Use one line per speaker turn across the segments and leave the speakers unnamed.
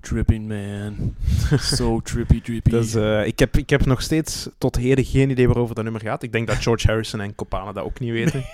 tripping, man. so trippy, trippy.
Dus, eh, ik, heb, ik heb nog steeds tot heden geen idee waarover dat nummer gaat. Ik denk dat George Harrison en Copana dat ook niet weten.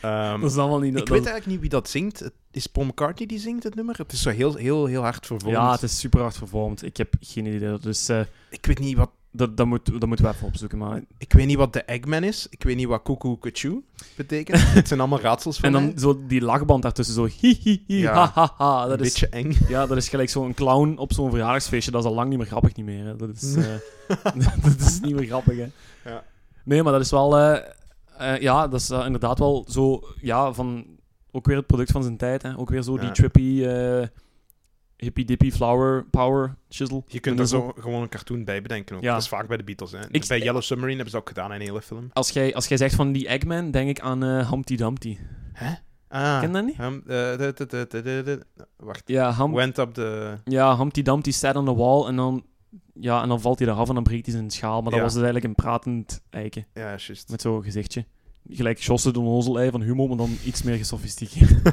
Ehm,
dat is allemaal niet...
ik weet eigenlijk niet wie dat zingt. Het Is Paul McCartney die zingt het nummer? Het is zo heel, heel, heel hard vervolgd.
ja, het is super hard vervormd. Ik heb geen idee. Dus eh,
Ik weet niet wat
dat, dat, moet, dat moeten we even opzoeken. Maar...
Ik weet niet wat de Eggman is. Ik weet niet wat Koekoe Kachu betekent. Het zijn allemaal raadsels van
En
mij.
dan zo die lachband daartussen, zo hi hi hi,
Ja.
ha ha ha.
een
Dat is,
beetje eng.
ja, dat is gelijk zo'n clown op zo'n verjaardagsfeestje. Dat is al lang niet meer grappig niet meer. Hè. Dat, is, eh, dat is niet meer grappig, hè.
Ja.
Nee, maar dat is wel... eh, eh, ja, dat is eh, inderdaad wel zo... Ja, van... Ook weer het product van zijn tijd, hè. Ook weer zo die
Ja.
trippy... eh Hippie-dippy flower power chisel.
Je kunt er zo gewoon een cartoon bij bedenken. Ook.
Ja.
Dat is vaak bij de Beatles. Hè.
Ik-
Bij Yellow Submarine hebben ze dat ook gedaan in een hele film.
Als jij, als jij zegt van die Eggman, denk ik aan eh, Humpty Dumpty.
Ah.
Ken je dat niet?
um, eh, de- de- de- de- de- de- Wacht.
Ja, Hum-
Went up the...
ja, Humpty Dumpty staat aan de wall en dan, ja, en dan valt hij eraf en dan breekt hij zijn schaal. Maar dat
Ja.
was dus eigenlijk een pratend eiken
Ja, juist.
met zo'n gezichtje. Gelijk Josse de onnozel-ei van Humo, maar dan iets meer gesofisticeerd.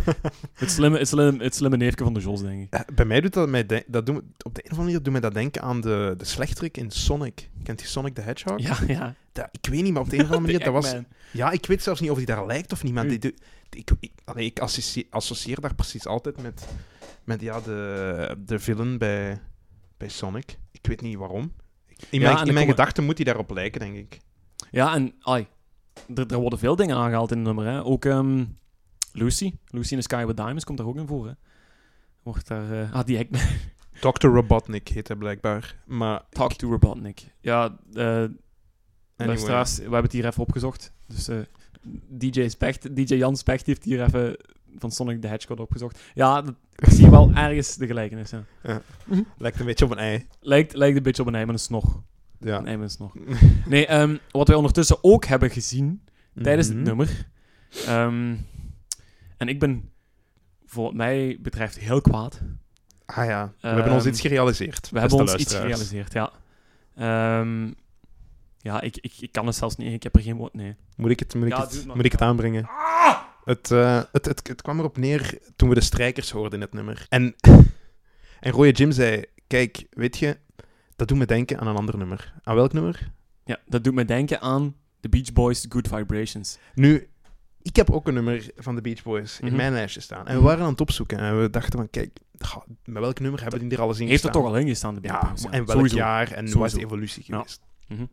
het, slimme, het, slimme, het slimme neefje van de Jos, denk ik.
Eh, Bij mij doet dat... Mij denk- dat doet, op de een of andere manier doet mij dat denken aan de, de slechterik in Sonic. Kent je Sonic the Hedgehog?
Ja, ja.
Dat- ik weet niet, maar op de een of andere
De Hmm.
manier... Dat was,
Eggman.
Ja, ik weet zelfs niet of die daar lijkt of niet, maar
U.
die, doet- ik, ik, allee, ik associeer, associeer daar precies altijd met, met ja, de, de villain bij, bij Sonic. Ik weet niet waarom.
Ja,
In
en
mijn,
dan
in mijn
komen-
gedachten moet hij daarop lijken, denk ik.
Ja, en ai, er, er worden veel dingen aangehaald in het nummer. Hè. Ook ehm, Lucy. Lucy in the Sky with Diamonds komt daar ook in voor. Hè. Wordt daar... eh, ah, die Eggman.
Dr. Robotnik heet hij blijkbaar. Maar
Talk to Robotnik. Ja, eh
anyway.
Luisteraars, we hebben het hier even opgezocht. Dus eh, DJ, Specht, DJ Jan Specht heeft hier even van Sonic the Hedgehog opgezocht. Ja, dat- ik zie wel ergens de gelijkenis. Ja.
lijkt een beetje op een ei.
Lijkt, lijkt een beetje op een ei met een snor.
Ja.
Een ei met een snor. Nee, ehm, wat wij ondertussen ook hebben gezien tijdens
Mhm.
het nummer. ehm, en ik ben, voor wat mij betreft, heel kwaad.
Ah ja, we hebben ons
Ehm,
iets gerealiseerd.
We hebben ons
beste
iets
luisteraars.
gerealiseerd, ja. Ehm, ja, ik, ik, ik kan het zelfs niet. Ik heb er geen woord. Nee.
Moet ik het, moet ik
Ja, Ah! doe
het,
het maar.
moet ik het aanbrengen? Het, eh, het, het, het kwam erop neer toen we de strijkers hoorden in het nummer. En, en Roye Jim zei, kijk, weet je, dat doet me denken aan een ander nummer. Aan welk nummer?
Ja, dat doet me denken aan de Beach Boys' Good Vibrations.
Nu, ik heb ook een nummer van de Beach Boys
Mhm.
in mijn lijstje staan. En we
Mhm.
waren aan het opzoeken en we dachten van, kijk, goh, met welk nummer hebben die er alles in
Heeft er
gestaan?
toch al in gestaan, de Beach
Ja,
Boys?
en welk
sowieso.
jaar en wat is
Sowieso.
de evolutie
Ja.
geweest?
Mhm.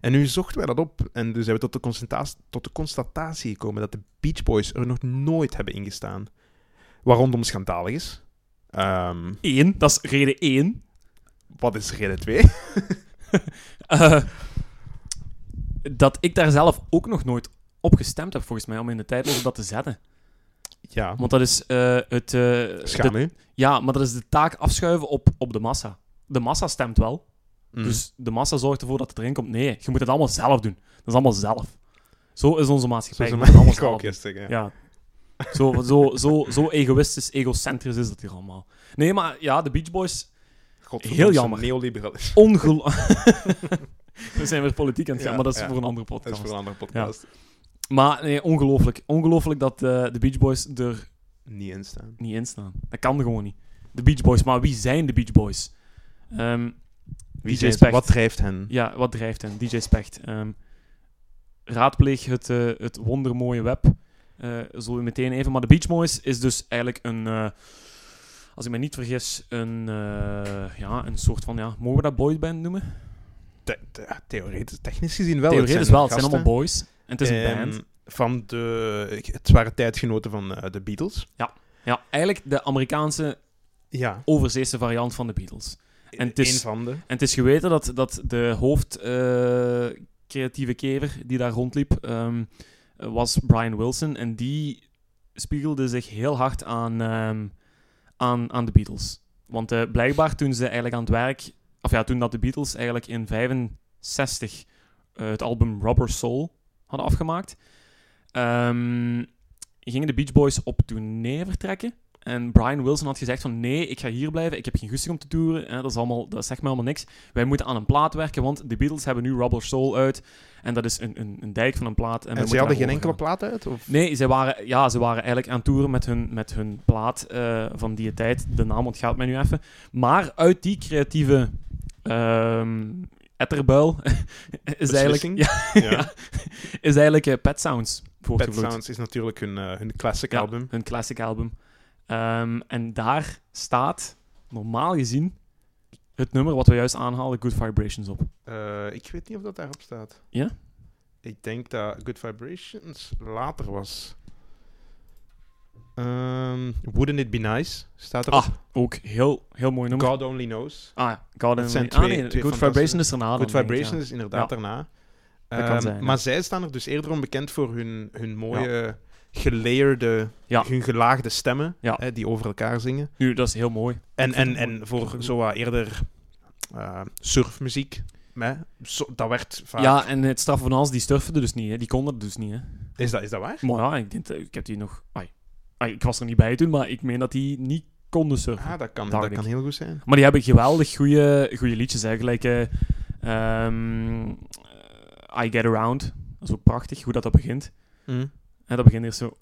En nu zochten wij dat op en toen zijn we tot de, constatatie, tot de constatatie gekomen dat de Beach Boys er nog nooit hebben ingestaan. Wat rondom schandalig is. Ehm,
Eén, dat is reden één.
wat is reden 2?
Eh, dat ik daar zelf ook nog nooit op gestemd heb, volgens mij, om in de tijd over dat te zetten.
Ja,
Want dat is eh, het... eh,
schaam
de-
u.
ja, maar dat is de taak afschuiven op, op de massa. De massa stemt wel,
Mm.
dus de massa zorgt ervoor dat het erin komt. Nee, je moet het allemaal zelf doen. Dat is allemaal zelf. Zo is onze
Zo
maatschappij.
is
Je
een
moet het allemaal
allemaal
zelf doen.
ja.
Ja. Zo, zo, zo, zo egoïstisch, egocentrisch is dat hier allemaal. Nee, maar ja, de Beach Boys,
Godverdomme,
Heel jammer.
Neoliberalisme.
ongelooflijk... We zijn weer politiek aan het gaan,
Ja,
maar dat is
ja.
voor een andere
Dat is
podcast.
voor een andere podcast.
Maar nee, ongelooflijk. Ongelooflijk dat eh, de Beach Boys er
Niet instaan.
niet in staan. Dat kan gewoon niet. De Beach Boys, maar wie zijn de Beach Boys? Ehm,
Wie
DJ
zijn ze?
Specht.
Wat drijft hen?
ja, wat drijft hen? DJ Specht. Ehm, raadpleeg het, eh, het wondermooie web. Eh zullen we meteen even. Maar de Beach Boys is dus eigenlijk een... eh, als ik me niet vergis, een, eh, ja, een soort van... Ja, mogen we dat boyband noemen?
Te- te- theoretisch, technisch gezien wel.
Theoretisch
zijn
wel. Het zijn
gasten.
allemaal boys. En het is een
Ehm,
band.
Van de... Het waren tijdgenoten van eh, de Beatles.
Ja, eigenlijk de Amerikaanse
Ja.
overzeese variant van de Beatles. En het is-
E- Een van de...
En het is geweten dat, dat de hoofdcreatieve kever die daar rondliep, ehm, was Brian Wilson. En die spiegelde zich heel hard aan, ehm, aan, aan de Beatles. Want eh, blijkbaar toen ze eigenlijk aan het werk... Of ja, toen dat de Beatles eigenlijk in 65 eh, het album Rubber Soul hadden afgemaakt, ehm, gingen de Beach Boys op tournee vertrekken. En Brian Wilson had gezegd van nee, ik ga hier blijven, ik heb geen goesting om te toeren, hè, dat, is allemaal, dat zegt me allemaal niks. Wij moeten aan een plaat werken, want de Beatles hebben nu Rubber Soul uit. En dat is een, een, een dijk van een plaat. En, wij
En
moeten
ze hadden geen
daarover
enkele
gaan.
plaat uit? Of?
Nee, ze waren, ja, ze waren eigenlijk aan het toeren met hun, met hun plaat eh, van die tijd. De naam ontgaat mij nu even. Maar uit die creatieve ehm etterbuil is eigenlijk,
Beslissing?
ja,
Ja.
is eigenlijk eh, Pet Sounds
Pet
voortgevloeid.
Sounds is natuurlijk hun, eh, hun classic
Ja,
album.
hun classic album. Ehm, en daar staat, normaal gezien, het nummer wat we juist aanhaalden, Good Vibrations, op.
Eh, ik weet niet of dat daarop staat.
Ja?
Ik denk dat Good Vibrations later was. Ehm, Wouldn't It Be Nice staat erop.
Ah, Ook heel, heel mooi nummer.
God Only Knows.
Ah, ja, God and
zijn
Only- ah, nee,
twee- twee
Good
fantastische-
Vibrations is erna. dan,
Good
denk ik, ja.
Vibrations is inderdaad
Ja.
daarna.
Dat kan
Ehm,
zijn, ja.
maar zij staan er dus eerder onbekend voor hun, hun mooie, geleerde,
Ja.
hun gelaagde stemmen
Ja.
hè, die over elkaar zingen.
Nu, dat is heel mooi.
En,
Ik vind
en,
het mooi.
en voor zo wat eerder eh, surfmuziek, hè? Zo, dat werd vaak...
Ja, en het straf van alles, die sturfde dus niet. Hè. Die konden het dus niet. Hè.
Is, dat, is dat waar?
Maar ja, ik, denk, dat- ik heb die nog... Ai, ai, ik was er niet bij toen, maar ik meen dat die niet konden surfen.
Ah, dat kan,
Dacht
dat
ik.
kan heel goed zijn.
Maar die hebben geweldig goede liedjes. Hè. Gelijk eh, ehm, eh, I Get Around. Dat is ook prachtig hoe dat, dat begint. En dat begint eerst zo...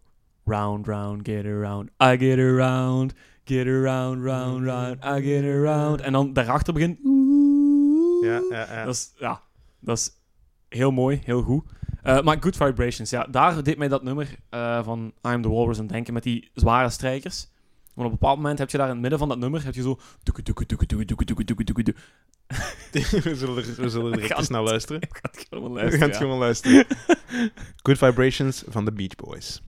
Round, round, get around. I get around. Get around, round, round. I get around. En dan daarachter begint...
Ja, ja, ja.
Dat is, ja, dat is heel mooi, heel goed. Eh, maar Good Vibrations, ja, daar deed mij dat nummer eh, van I'm the Walrus aan denken met die zware strijkers. Want op een bepaald moment heb je daar in het midden van dat nummer heb je zo. toeke, toeke, toeke, toeke, toeke, toeke, toeke, toeke, toeke.
we zullen er, we zullen er direct
Gaan
eens naar luisteren.
Ik ga het gewoon
we gaan
luisteren.
het
ja.
gewoon luisteren. Good Vibrations van de Beach Boys.